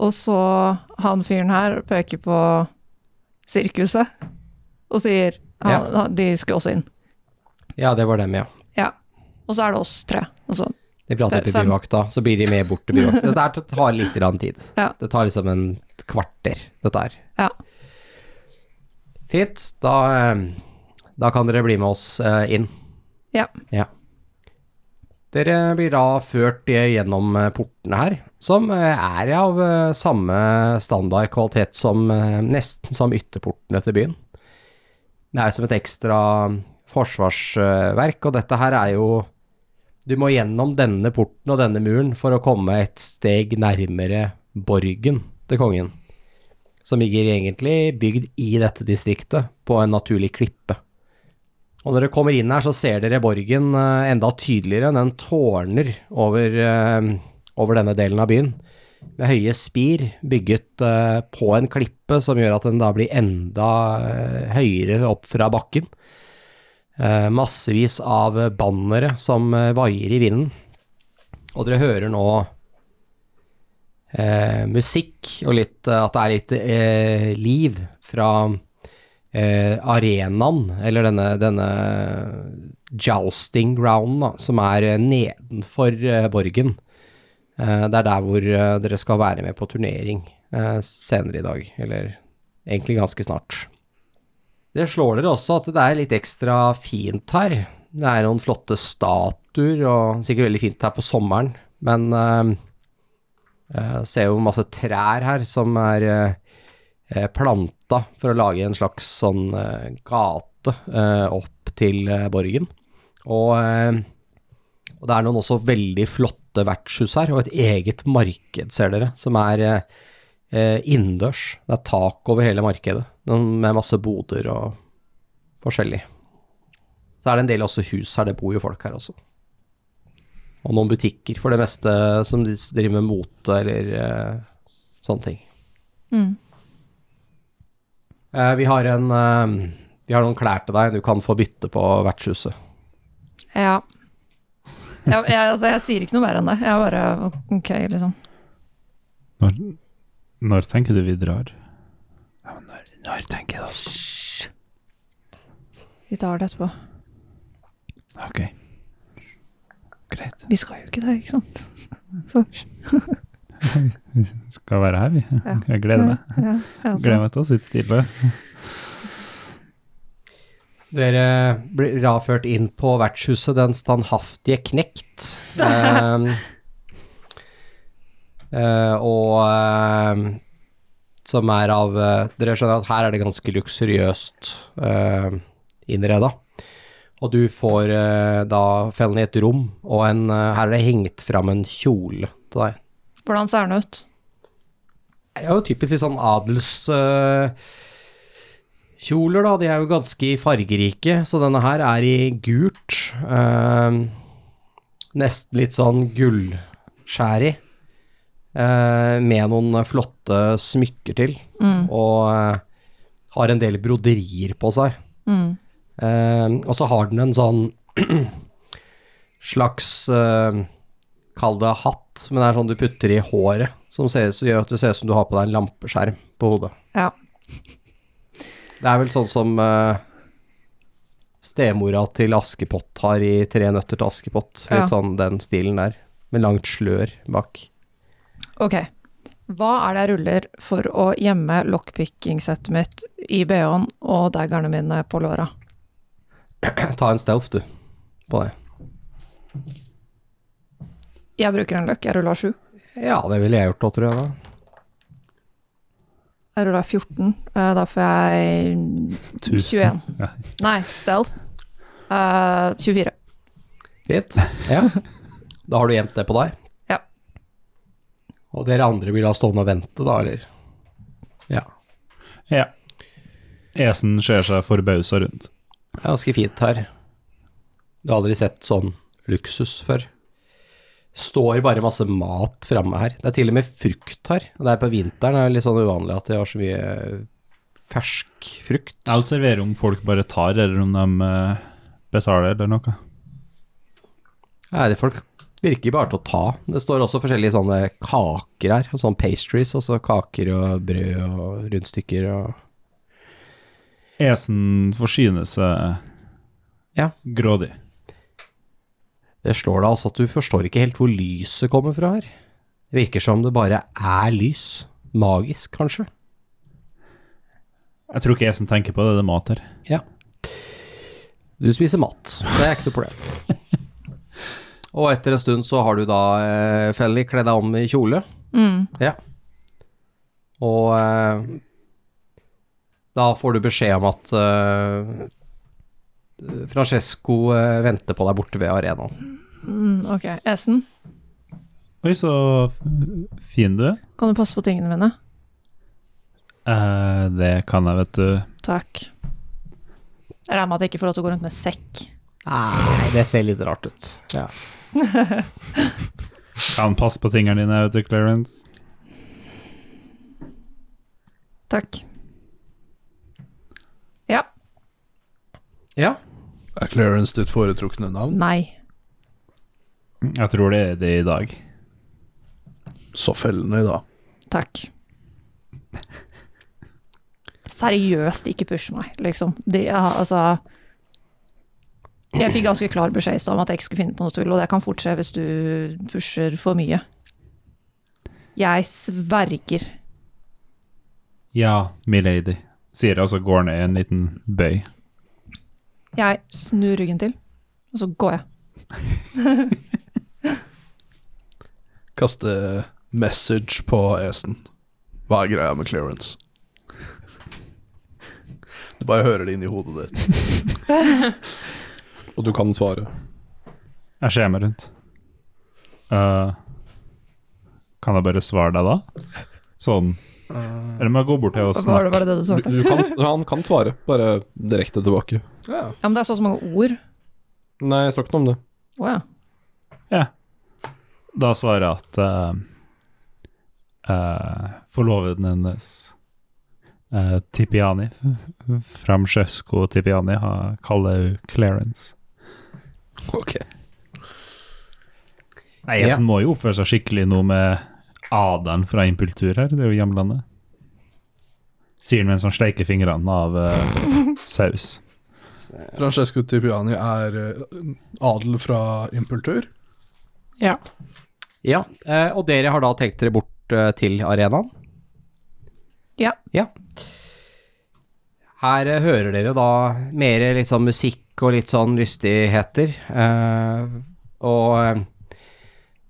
og så han fyren her peker på sirkuset og sier han, han- De skulle også inn. Ja, det var dem, ja. Ja. Og så er det oss tre. Og så De prater Det er til fem. byvakta, så blir de med bort til byvakta. Dette her tar litt grann tid. Ja. Det tar liksom en kvarter, dette her. Ja. Fint, da, eh, da kan dere bli med oss eh, inn. Ja. ja. Dere blir da ført eh, gjennom eh, portene her, som eh, er av eh, samme standard kvalitet som eh, nesten som ytterportene til byen. Det er som et ekstra forsvarsverk, og dette her er jo Du må gjennom denne porten og denne muren for å komme et steg nærmere borgen til kongen. Som ligger egentlig bygd i dette distriktet, på en naturlig klippe. Og når dere kommer inn her, så ser dere borgen eh, enda tydeligere. Den tårner over, eh, over denne delen av byen. Med høye spir bygget eh, på en klippe som gjør at den da blir enda eh, høyere opp fra bakken. Eh, massevis av eh, bannere som eh, vaier i vinden. Og dere hører nå eh, musikk og litt, eh, at det er litt eh, liv fra eh, arenaen, eller denne, denne jousting grounden, da, som er eh, nedenfor eh, borgen. Eh, det er der hvor eh, dere skal være med på turnering eh, senere i dag, eller egentlig ganske snart. Det slår dere også at det er litt ekstra fint her. Det er noen flotte statuer, og sikkert veldig fint her på sommeren, men eh, eh, ser jo masse trær her som er eh, eh, planta for å lage en slags sånn eh, gate eh, opp til eh, borgen. Og, eh, og det er noen også veldig flotte vertshus her, og et eget marked, ser dere, som er eh, eh, innendørs. Det er tak over hele markedet, noen med masse boder og forskjellig. Så er det en del også hus her, det bor jo folk her også. Og noen butikker, for det meste som de s- driver med mote eller eh, sånne ting. Mm. Eh, vi, har en, eh, vi har noen klær til deg du kan få bytte på vertshuset. Ja. Jeg, jeg, altså, jeg sier ikke noe mer enn det. Jeg bare OK, liksom. Når, når tenker du vi drar? Vi tar det etterpå. Ok. Greit. Vi skal jo ikke det, ikke sant? Så skal være her, vi. Ja. Jeg gleder meg. Ja, altså. jeg også. Gleder meg til å sitte stille. Dere blir avført inn på vertshuset Den standhaftige knekt. Ehm, eh, og ehm, som er av eh, Dere skjønner at her er det ganske luksuriøst uh, innreda. Og du får eh, da fellen i et rom, og en, eh, her er det hengt fram en kjole til deg. Hvordan ser den ut? Det er jo typisk litt sånn adelskjoler, da. De er jo ganske fargerike, så denne her er i gult. Eh, nesten litt sånn gullskjær i. Eh, med noen flotte smykker til. Mm. Og eh, har en del broderier på seg. Mm. Eh, og så har den en sånn <clears throat> slags eh, Kall det hatt, men det er sånn du putter i håret, som ser, som gjør at du ser ut som du har på deg en lampeskjerm på hodet. Ja. Det er vel sånn som eh, stemora til Askepott har i Tre nøtter til Askepott. Litt Ja. sånn den stilen der, med langt slør bak. <clears throat> Ok. Hva er det jeg ruller for å gjemme lockpicking-settet mitt i BH-en og daggerne mine på låra? Ta en stealth, du, på det. Jeg bruker en løkk, jeg rulla sju. Ja, det ville jeg gjort da, tror jeg. da. Jeg rulla 14, eh, da får jeg 21. Ja. Nei, stealth. Eh, 24. Fint. Ja. Da har du gjemt det på deg? Ja. Og dere andre vil da stående og vente, da, eller? Ja. Ja. Esen ser seg forbausa rundt. Det er ganske fint her. Du har aldri sett sånn luksus før. Står bare masse mat framme her. Det er til og med frukt her. Det er på vinteren er det litt sånn uvanlig at de har så mye fersk frukt. Jeg observerer om folk bare tar, eller om de eh, betaler eller noe. Nei, det folk virker bare til å ta. Det står også forskjellige sånne kaker her, og sånne pastries, altså kaker og brød og rundstykker og Esen forsyner seg Ja. grådig. Det slår deg altså at du forstår ikke helt hvor lyset kommer fra her. Det virker som det bare er lys. Magisk, kanskje. Jeg tror ikke Esen tenker på det, det er mat her. Du spiser mat, det er ikke noe problem. <laughs> Og etter en stund så har du da eh, Felly kledd deg om i kjole, Mm. og eh, da får du beskjed om at eh, Francesco eh, venter på deg borte ved arenaen. Mm, ok. Esen, Oi, så f- fin du er. kan du passe på tingene mine? Eh, det kan jeg, vet du. Takk. Jeg regner med at jeg ikke får lov til å gå rundt med sekk. Nei, det ser litt rart ut. Ja. Kan passe på tingene dine, vet du, Clarence. Takk. Ja. ja. Er Clarence ditt foretrukne navn? Nei. Jeg tror det er det i dag. Så fellende, da. Takk. Seriøst, ikke push meg, liksom. Det, er- altså Jeg fikk ganske klar beskjed i stad om at jeg ikke skulle finne på noe tull, og det kan fort skje hvis du pusher for mye. Jeg sverger. Ja, milady, sier jeg, og så går ned en liten bøy. Jeg snur ryggen til, og så går jeg. Kaste message på Esen. Hva er greia med Clarence? Du bare hører det inni hodet ditt. Og du kan svare. Jeg ser meg rundt. Eh, kan jeg bare svare deg, da? Sånn. Eller må jeg gå bort til og Var det snakke? bare det du Du, svarte? du kan, han kan svare, bare direkte tilbake. Ja, men det er så mange ord. Nei, jeg snakker ikke noe om det. Å ja. Da svarer jeg at eh, eh, forloveden hennes eh, Tipiani, Francesco Tipiani, har- kaller hun Clarence. Ok. Nei, Esen må jo oppføre seg skikkelig nå med adelen fra impultur her, det er jo hjemlandet. Sier han mens han sleiker fingrene av <laughs> eh, saus. Francesco Tipiani er eh, adel fra impultur. Ja. Ja, eh, og dere har da tenkt dere bort eh, til arenaen? Ja. Ja. Her eh, hører dere da mer litt sånn musikk og litt sånn lystigheter. eh, og eh,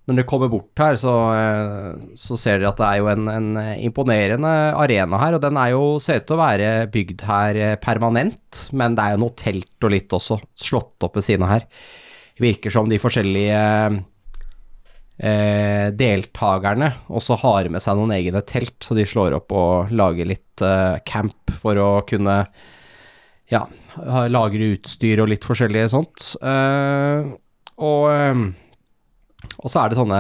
når dere kommer bort her, så, eh, så ser dere at det er jo en, en imponerende arena her. Og den er jo, ser ut til å være bygd her eh, permanent, men det er jo noe telt og litt også slått opp ved siden av her. Virker som de forskjellige eh, eh, deltakerne også har med seg noen egne telt, så de slår opp og lager litt eh, camp for å kunne ja, ha- lagre utstyr og litt forskjellig sånt. Eh, og, eh, og så er det sånne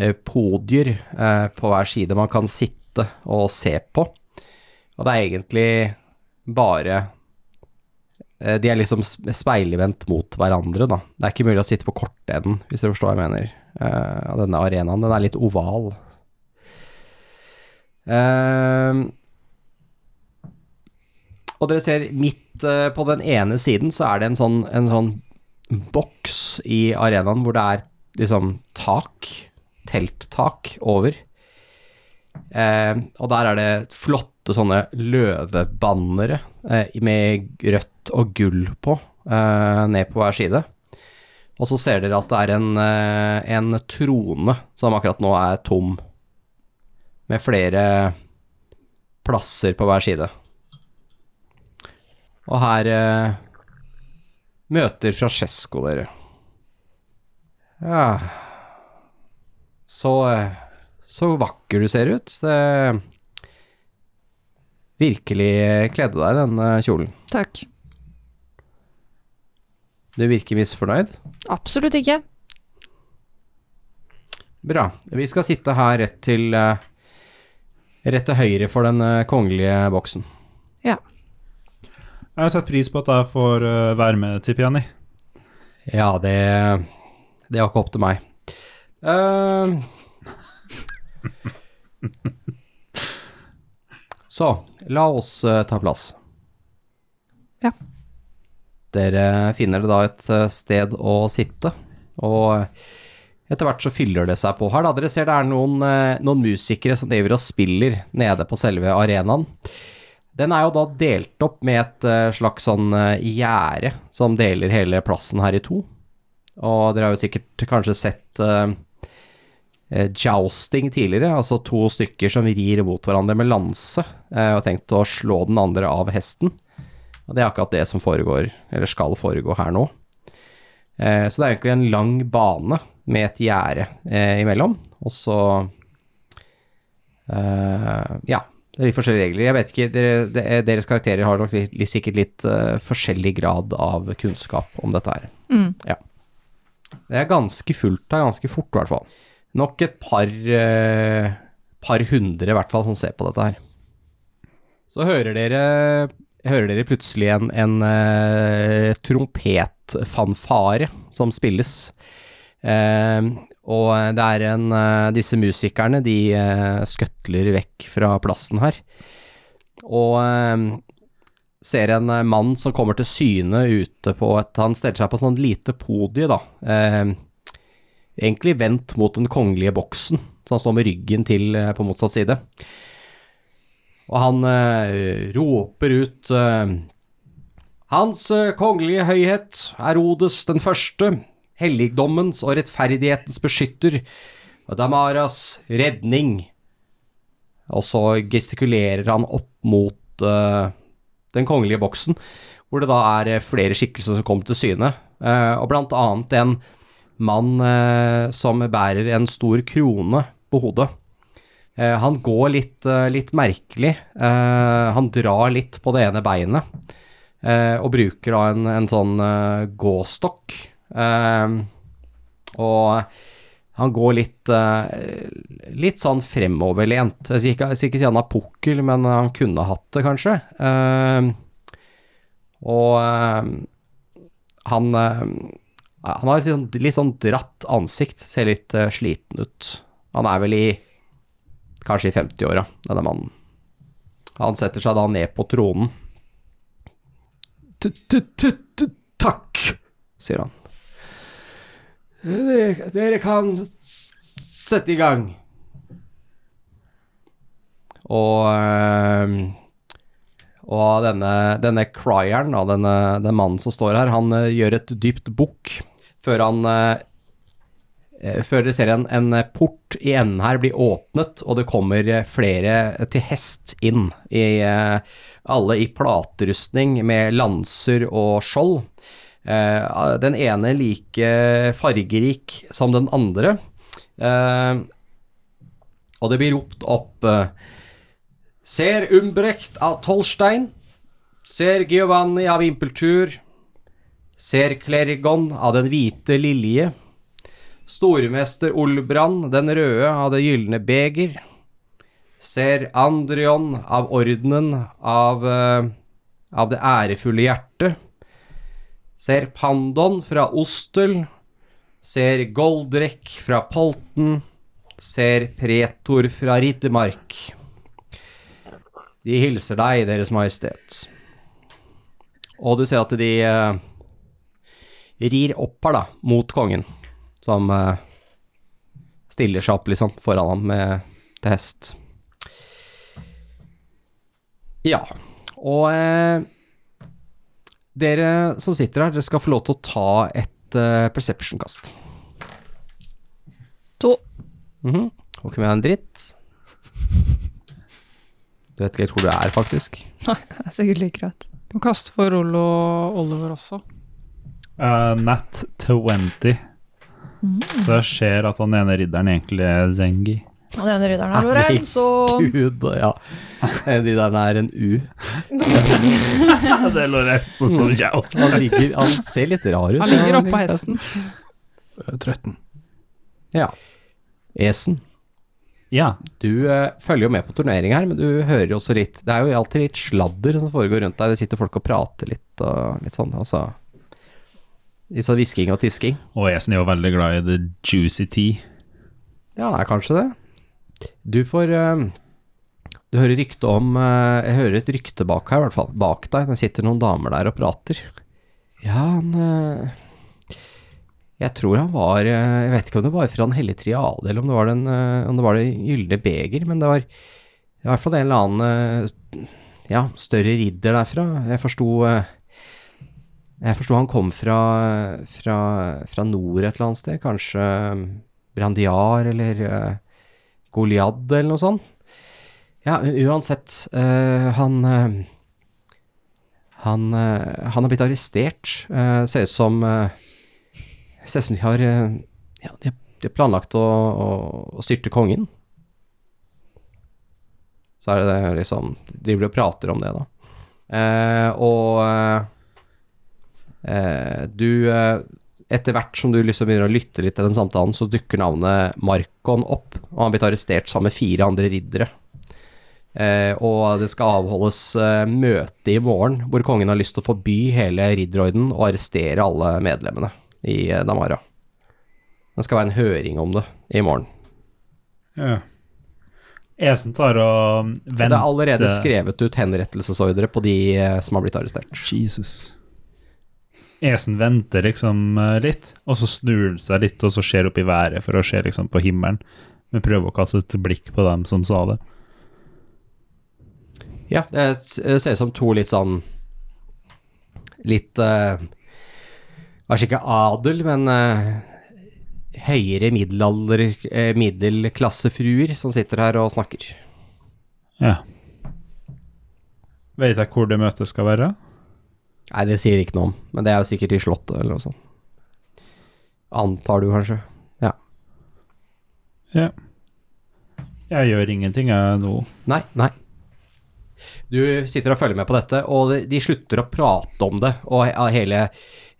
eh, podier eh, på hver side man kan sitte og se på. Og det er egentlig bare eh, de er liksom sp- speilvendt mot hverandre, da. Det er ikke mulig å sitte på kortenden, hvis dere forstår hva jeg mener. Eh, og denne arenaen, den er litt oval. Eh, Ehm, og dere ser midt eh, på den ene siden så er det en sånn, en sånn boks i arenaen hvor det er liksom tak, telttak over. Eh, og der er det flotte sånne løvebannere eh, med rødt og gull på, eh, ned på hver side. Og så ser dere at det er en, eh, en trone som akkurat nå er tom, med flere plasser på hver side. Og her eh, møter Francesco dere. Ja Så eh, så vakker du ser ut. Det virkelig kledde deg denne kjolen. Takk. Du virker misfornøyd. Absolutt ikke. Bra. Vi skal sitte her rett til eh, Rett til høyre for den eh, kongelige boksen. Jeg har satt pris på at jeg får eh, være med, tipper jeg. Annie. Ja, det Det var ikke opp til meg. Ehm. <laughs> så, la oss eh, ta plass. Ja. Dere finner det da et eh, sted å sitte, og eh, etter hvert så fyller det seg på her. Da. Dere ser det er noen, eh, noen musikere som driver og spiller nede på selve arenaen. Den er jo da delt opp med et eh, slags sånn eh, gjerde som deler hele plassen her i to. Og dere har jo sikkert kanskje sett eh, eh, jousting tidligere, altså to stykker som rir mot hverandre med lanse eh, og tenkt å slå den andre av hesten. Og det er akkurat det som foregår, eller skal foregå her nå. Eh, så det er egentlig en lang bane med et gjerde eh, imellom, og så eh, Ja. Det er litt forskjellige regler. Jeg vet ikke, dere, det er- Deres karakterer har nok litt- sikkert litt eh, forskjellig grad av kunnskap om dette her. Mm. Det er ganske fullt her, ganske fort i hvert fall. Nok et par, eh, par hundre i hvert fall som ser på dette her. Så hører dere, hører dere plutselig en, en eh, trompetfanfare som spilles. Eh, og det er en eh, Disse musikerne, de eh, skøtler vekk fra plassen her. Og eh, ser en eh, mann som kommer til syne ute på et Han steller seg på et sånt lite podie, da. Eh, egentlig vendt mot den kongelige boksen, så han står med ryggen til eh, på motsatt side. Og han eh, roper ut eh, Hans eh, kongelige høyhet, Herodes den første, helligdommens og rettferdighetens beskytter, og Damaras redning. Og så gestikulerer han opp mot eh, den kongelige boksen, hvor det da er eh, flere skikkelser som kommer til syne, eh, og blant annet en mann eh, som bærer en stor krone på hodet. Eh, Han går litt, eh, litt merkelig, eh, han drar litt på det ene beinet, eh, og bruker da en, en sånn eh, gåstokk, Eh, og han går litt, eh, litt sånn fremoverlent. Jeg skal ikke, jeg skal ikke si han har pukkel, men han kunne hatt det, kanskje. Eh, og eh, han, eh, han har et litt sånn, litt sånn dratt ansikt, ser litt eh, sliten ut. Han er vel i kanskje i 50-åra, denne mannen. Han setter seg da ned på tronen, T-t-t-t-takk. sier han. Dere, dere kan s- sette i gang. Og eh, Og denne, denne crieren, da, denne, den mannen som står her, han eh, gjør et dypt bukk før han eh, eh, Før dere ser en, en port i enden her bli åpnet, og det kommer eh, flere til hest inn. I, eh, alle i platerustning med lanser og skjold. Eh, Den ene like fargerik som den andre. Eh, Og det blir ropt opp eh, Ser Umbrecht av Tolstein. Ser Giovanni av Impeltur. Ser Klerigon av Den hvite lilje. Stormester Olbrand, den røde av det gylne beger. Ser Andrion av ordenen av, eh, av det ærefulle hjertet. Ser Pandon fra Ostel. Ser Goldrek fra Polten. Ser Pretor fra Riddermark. De hilser deg, Deres Majestet. Og du ser at de eh, rir opp her, da, mot kongen, som eh, stiller seg opp, liksom, foran ham med, til hest. Ja, og eh, dere som sitter her, dere skal få lov til å ta et eh, perception-kast. To. <laughs> Mhm. Får ikke med deg en dritt. Du vet ikke helt hvor du er, faktisk. Det er sikkert like greit. Du kaster for Rollo og Oliver også. Eh, nat 20. Så jeg ser at han ene ridderen egentlig er Zengi. Og den ridderen her var en, så Gud, ja. Eh, De der er en U. det er Lorenzo som jeg også. Han, ligger, han ser litt rar ut. Han ligger oppå hesten. Eh, 13. Ja. Esen. Ja, Du eh, følger jo med på turnering her, men du hører jo også litt Det er jo alltid litt sladder som foregår rundt deg. Det sitter folk og prater litt og litt sånn, altså. Litt sånn hvisking og tisking. og Esen er jo veldig glad i the juicy tea. Ja, det er kanskje det. Du får eh, Du hører rykte om eh, Jeg hører et rykte bak her, i hvert fall. Bak deg. Det sitter noen damer der og prater. Ja, han eh, Jeg tror han var eh, Jeg vet ikke om det var fra Den hellige triade, eller om det var, den, eh, om det, var det gylne beger, men det var i hvert fall en eller annen eh, ja, større ridder derfra. Jeg forsto eh, jeg forsto han kom fra, fra, fra nord et eller annet sted, kanskje eh, Brandiar eller uh, Goliad eller noe sånt. Ja, u- uansett. eh, han eh, han, eh, han har blitt arrestert. Eh, ser ut som eh, Ser ut som de har eh, ja, de, har- de har planlagt å, å, å styrte kongen. Så er det det liksom De driver og prater om det, da. Eh, og eh, eh, du eh, etter hvert som du liksom begynner å lytte litt til den samtalen, så dukker navnet Markon opp, og han har blitt arrestert sammen med fire andre riddere. Eh, og det skal avholdes eh, møte i morgen, hvor kongen har lyst til å forby hele ridderorden og arrestere alle medlemmene i eh, Damara. Det skal være en høring om det i morgen. Ja. Esen tar og um, Det venter. er allerede skrevet ut henrettelsesordre på de eh, som har blitt arrestert. Jesus. Esen venter liksom eh, litt, og så snur han seg litt, og så ser opp i været for å se liksom på himmelen. Men prøver å kaste et blikk på dem som sa det. Ja, det s- det ser ut som to litt sånn Litt eh, Kanskje ikke adel, men eh, høyere middelalder, eh, middelklassefruer som sitter her og snakker. Ja. Vet jeg hvor det møtet skal være? Nei, det sier de ikke noe om, men det er jo sikkert i Slottet eller noe sånt. Antar du, kanskje. Ja. Jeg gjør ingenting, jeg nå. Nei, nei. Du sitter og følger med på dette, og de- de slutter å prate om det, og he- hele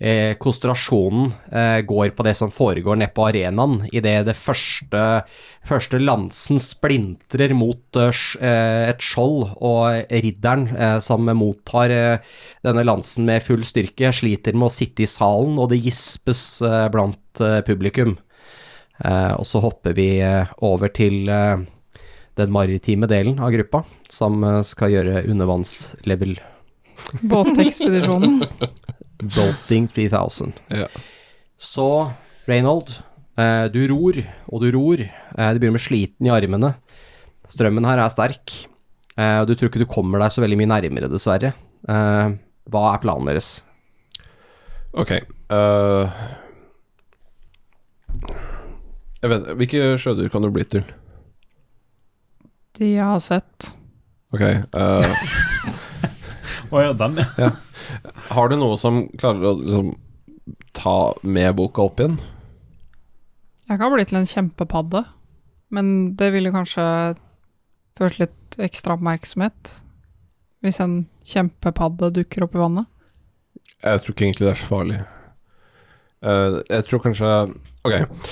eh, konsentrasjonen eh, går på det som foregår nede på arenaen, idet det første, første lansen splintrer mot eh, sj- eh, et skjold, og ridderen eh, som mottar eh, denne lansen med full styrke, sliter med å sitte i salen, og det gispes eh, blant eh, publikum. Eh, og så hopper vi eh, over til eh, den maritime delen av gruppa, som eh, skal gjøre undervannslevel Båtekspedisjonen. Bolting 3000. Ja. Så Reynold, eh, du ror, og du ror. Eh, du begynner med sliten i armene. Strømmen her er sterk, eh, og du tror ikke du kommer deg så veldig mye nærmere, dessverre. Eh, hva er planen deres? Ok. eh, jeg vet, hvilke sjødyr kan du bli til? De jeg har sett. Ok. <laughs> eh, Å ja, dem, ja. har du noe som klarer å liksom, ta med boka opp igjen? Jeg kan bli til en kjempepadde, men det ville kanskje ført litt ekstra oppmerksomhet hvis en kjempepadde dukker opp i vannet. Jeg tror ikke egentlig det er så farlig. Eh, jeg tror kanskje Ok.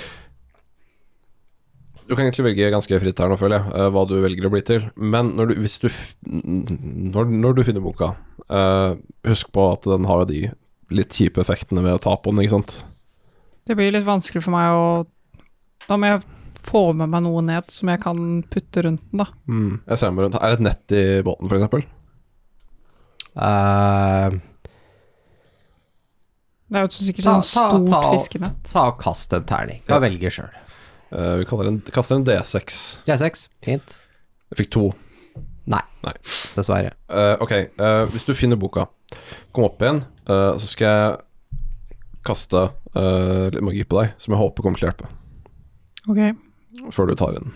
Du kan egentlig velge ganske fritt her nå, føler jeg, eh, hva du velger å bli til. Men når du, hvis du f- n- når, når du finner boka, eh, husk på at den har jo de litt kjipe effektene ved å ta på den, ikke sant? Det blir litt vanskelig for meg å Da må jeg få med meg noe ned som jeg kan putte rundt den, da. Jeg ser meg rundt. Er det et nett i båten, f.eks.? Eh, Det er jo sikkert Ta- sånn ta- stort ta og- fiskenett. ta og kast en terning. Hva velger sjøl? Uh, vi kaller en, kaster en D6. D6. Fint. Jeg fikk to. Nei. Nei. Dessverre. Eh, ok, eh, hvis du finner boka, kom opp igjen, eh, så skal jeg kaste eh, litt magi på deg, som jeg håper kommer til å hjelpe, Ok. før du tar den.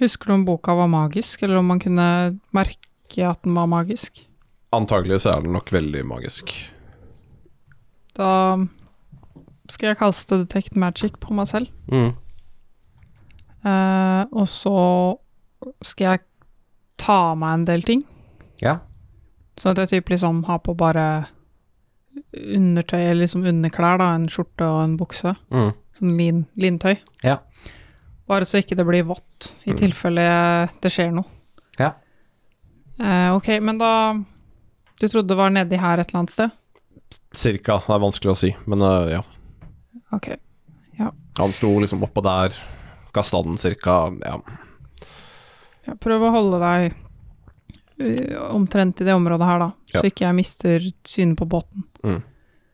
Husker du om boka var magisk, eller om man kunne merke at den var magisk? Antagelig så er den nok veldig magisk. Da skal jeg kaste Detect Magic på meg selv. Mm. Eh, og så skal jeg ta av meg en del ting. Ja. Sånn at jeg typ liksom har på bare undertøy, eller liksom underklær, da. En skjorte og en bukse. Mm. Sånn lin, lintøy. Ja. Bare så ikke det blir vått, Mm. i tilfelle jeg- det skjer noe. Ja. Eh, ok, men da Du trodde det var nedi her et eller annet sted? Cirka, det er vanskelig å si, men eh, ja. Ok. Han sto liksom oppå der, kasta den cirka, ja. Ja, prøv å holde deg ø, omtrent i det området her, da. Ja. Så ikke jeg mister synet på båten.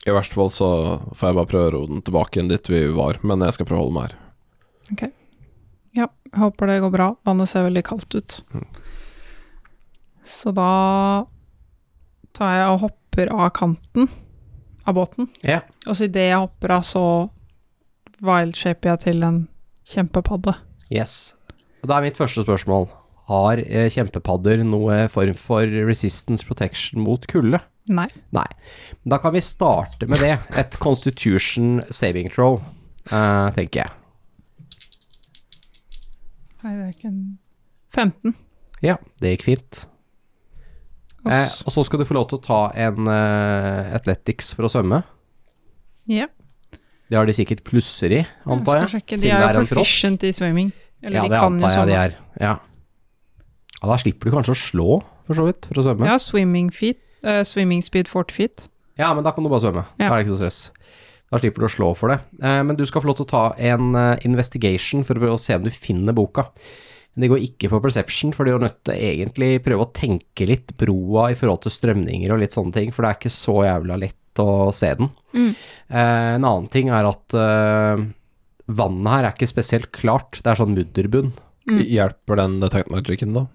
I verste fall så får jeg bare prøve å ro den tilbake igjen dit vi var, men jeg skal prøve å holde meg her. Ja, jeg håper det går bra. Vannet ser veldig kaldt ut. Mm. Så da tar jeg og hopper av kanten av båten. Ja. Og så idet jeg hopper av, så wildshaper jeg til en kjempepadde. Yes. Og da er mitt første spørsmål. Har eh, kjempepadder noe form for resistance protection mot kulde? Nei. Nei. Da kan vi starte med det. Et constitution saving throw, eh, tenker jeg. Nei, det er ikke en 15. Ja, det gikk fint. Og Eh, s- og så skal du få lov til å ta en eh, athletics for å svømme. ja. Det har de sikkert plusser i, antar jeg. skal sjekke. De siden er det er jo en frosk. proficient i swimming. Eller Ja, de det kan jo sånn antar jeg de svømme. er. Ja. ja, da slipper du kanskje å slå, for så vidt, for å svømme. Ja, swimming, feet, eh, swimming speed 40 feet. Ja, men da kan du bare svømme. Ja. Da er det ikke noe stress. Da slipper du å slå for det. Eh, men du skal få lov til å ta en eh, investigation for å prøve å se om du finner boka. Men det går ikke for perception, for du er nødt til å egentlig prøve å tenke litt broa i forhold til strømninger og litt sånne ting, for det er ikke så jævla lett å se den. Mm. Eh, en annen ting er at eh, vannet her er ikke spesielt klart. Det er sånn mudderbunn. Hjelper den detect magicen, da?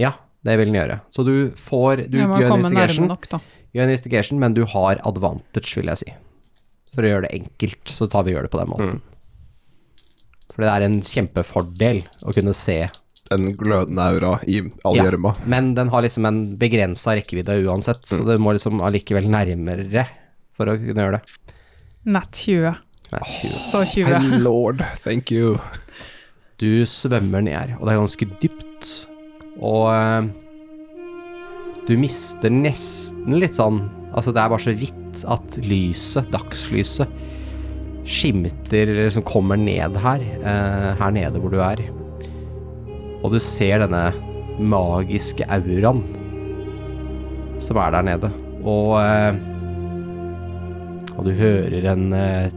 Ja, det vil den gjøre. Så du får Du jeg må gjør en komme nærme investigation. nok, da. Gjør en investigation, men du har advantage, vil jeg si. For å gjøre det enkelt, så tar vi gjør det på den måten. For det er en kjempefordel å kunne se. En glødende aura i all Ja. gjørma. Men den har liksom en begrensa rekkevidde uansett, så du må liksom allikevel nærmere for å kunne gjøre det. Nat 20. Nei, tjue. Så 20. lord, thank you. Du svømmer ned her, og det er ganske dypt. Og eh, du mister nesten litt sånn Altså, det er bare så vidt at lyset, dagslyset, skimter eller liksom kommer ned her. eh, her nede hvor du er. Og du ser denne magiske auraen som er der nede. Og eh, Og du hører en eh,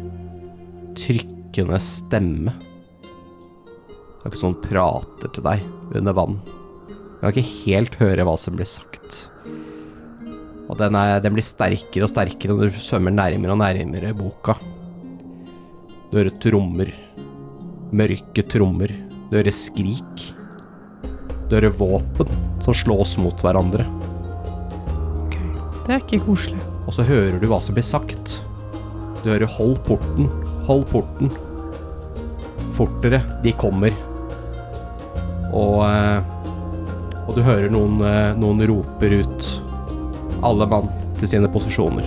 trykkende stemme. Det er ikke sånn prater til deg under vann. Du kan ikke helt høre hva som blir sagt. Og den, er, den blir sterkere og sterkere når du svømmer nærmere og nærmere boka. Du hører trommer. Mørke trommer. Du hører skrik. Du hører våpen som slås mot hverandre. Det er ikke koselig. Og så hører du hva som blir sagt. Du hører 'hold porten', 'hold porten'. Fortere. De kommer. Og eh, Og du hører noen, eh, noen roper ut. Alle mann til sine posisjoner.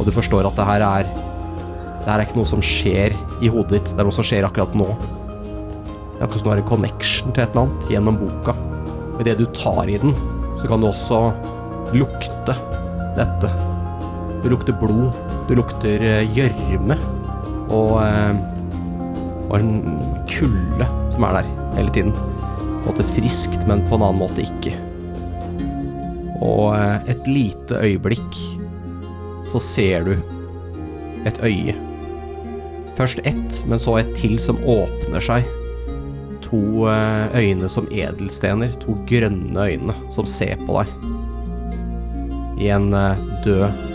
Og du forstår at det her er Det her er ikke noe som skjer i hodet ditt. Det er noe som skjer akkurat nå. Det er akkurat som du har en connection til et eller annet gjennom boka. Og idet du tar i den, så kan du også lukte dette. Du lukter blod, du lukter eh, gjørme og, eh, og en kulde som er der hele tiden. På en måte friskt, men på en annen måte ikke. Og eh, et lite øyeblikk så ser du et øye. Først ett, men så et til som åpner seg. To eh, øyne som edelstener, to grønne øyne som ser på deg i en eh, død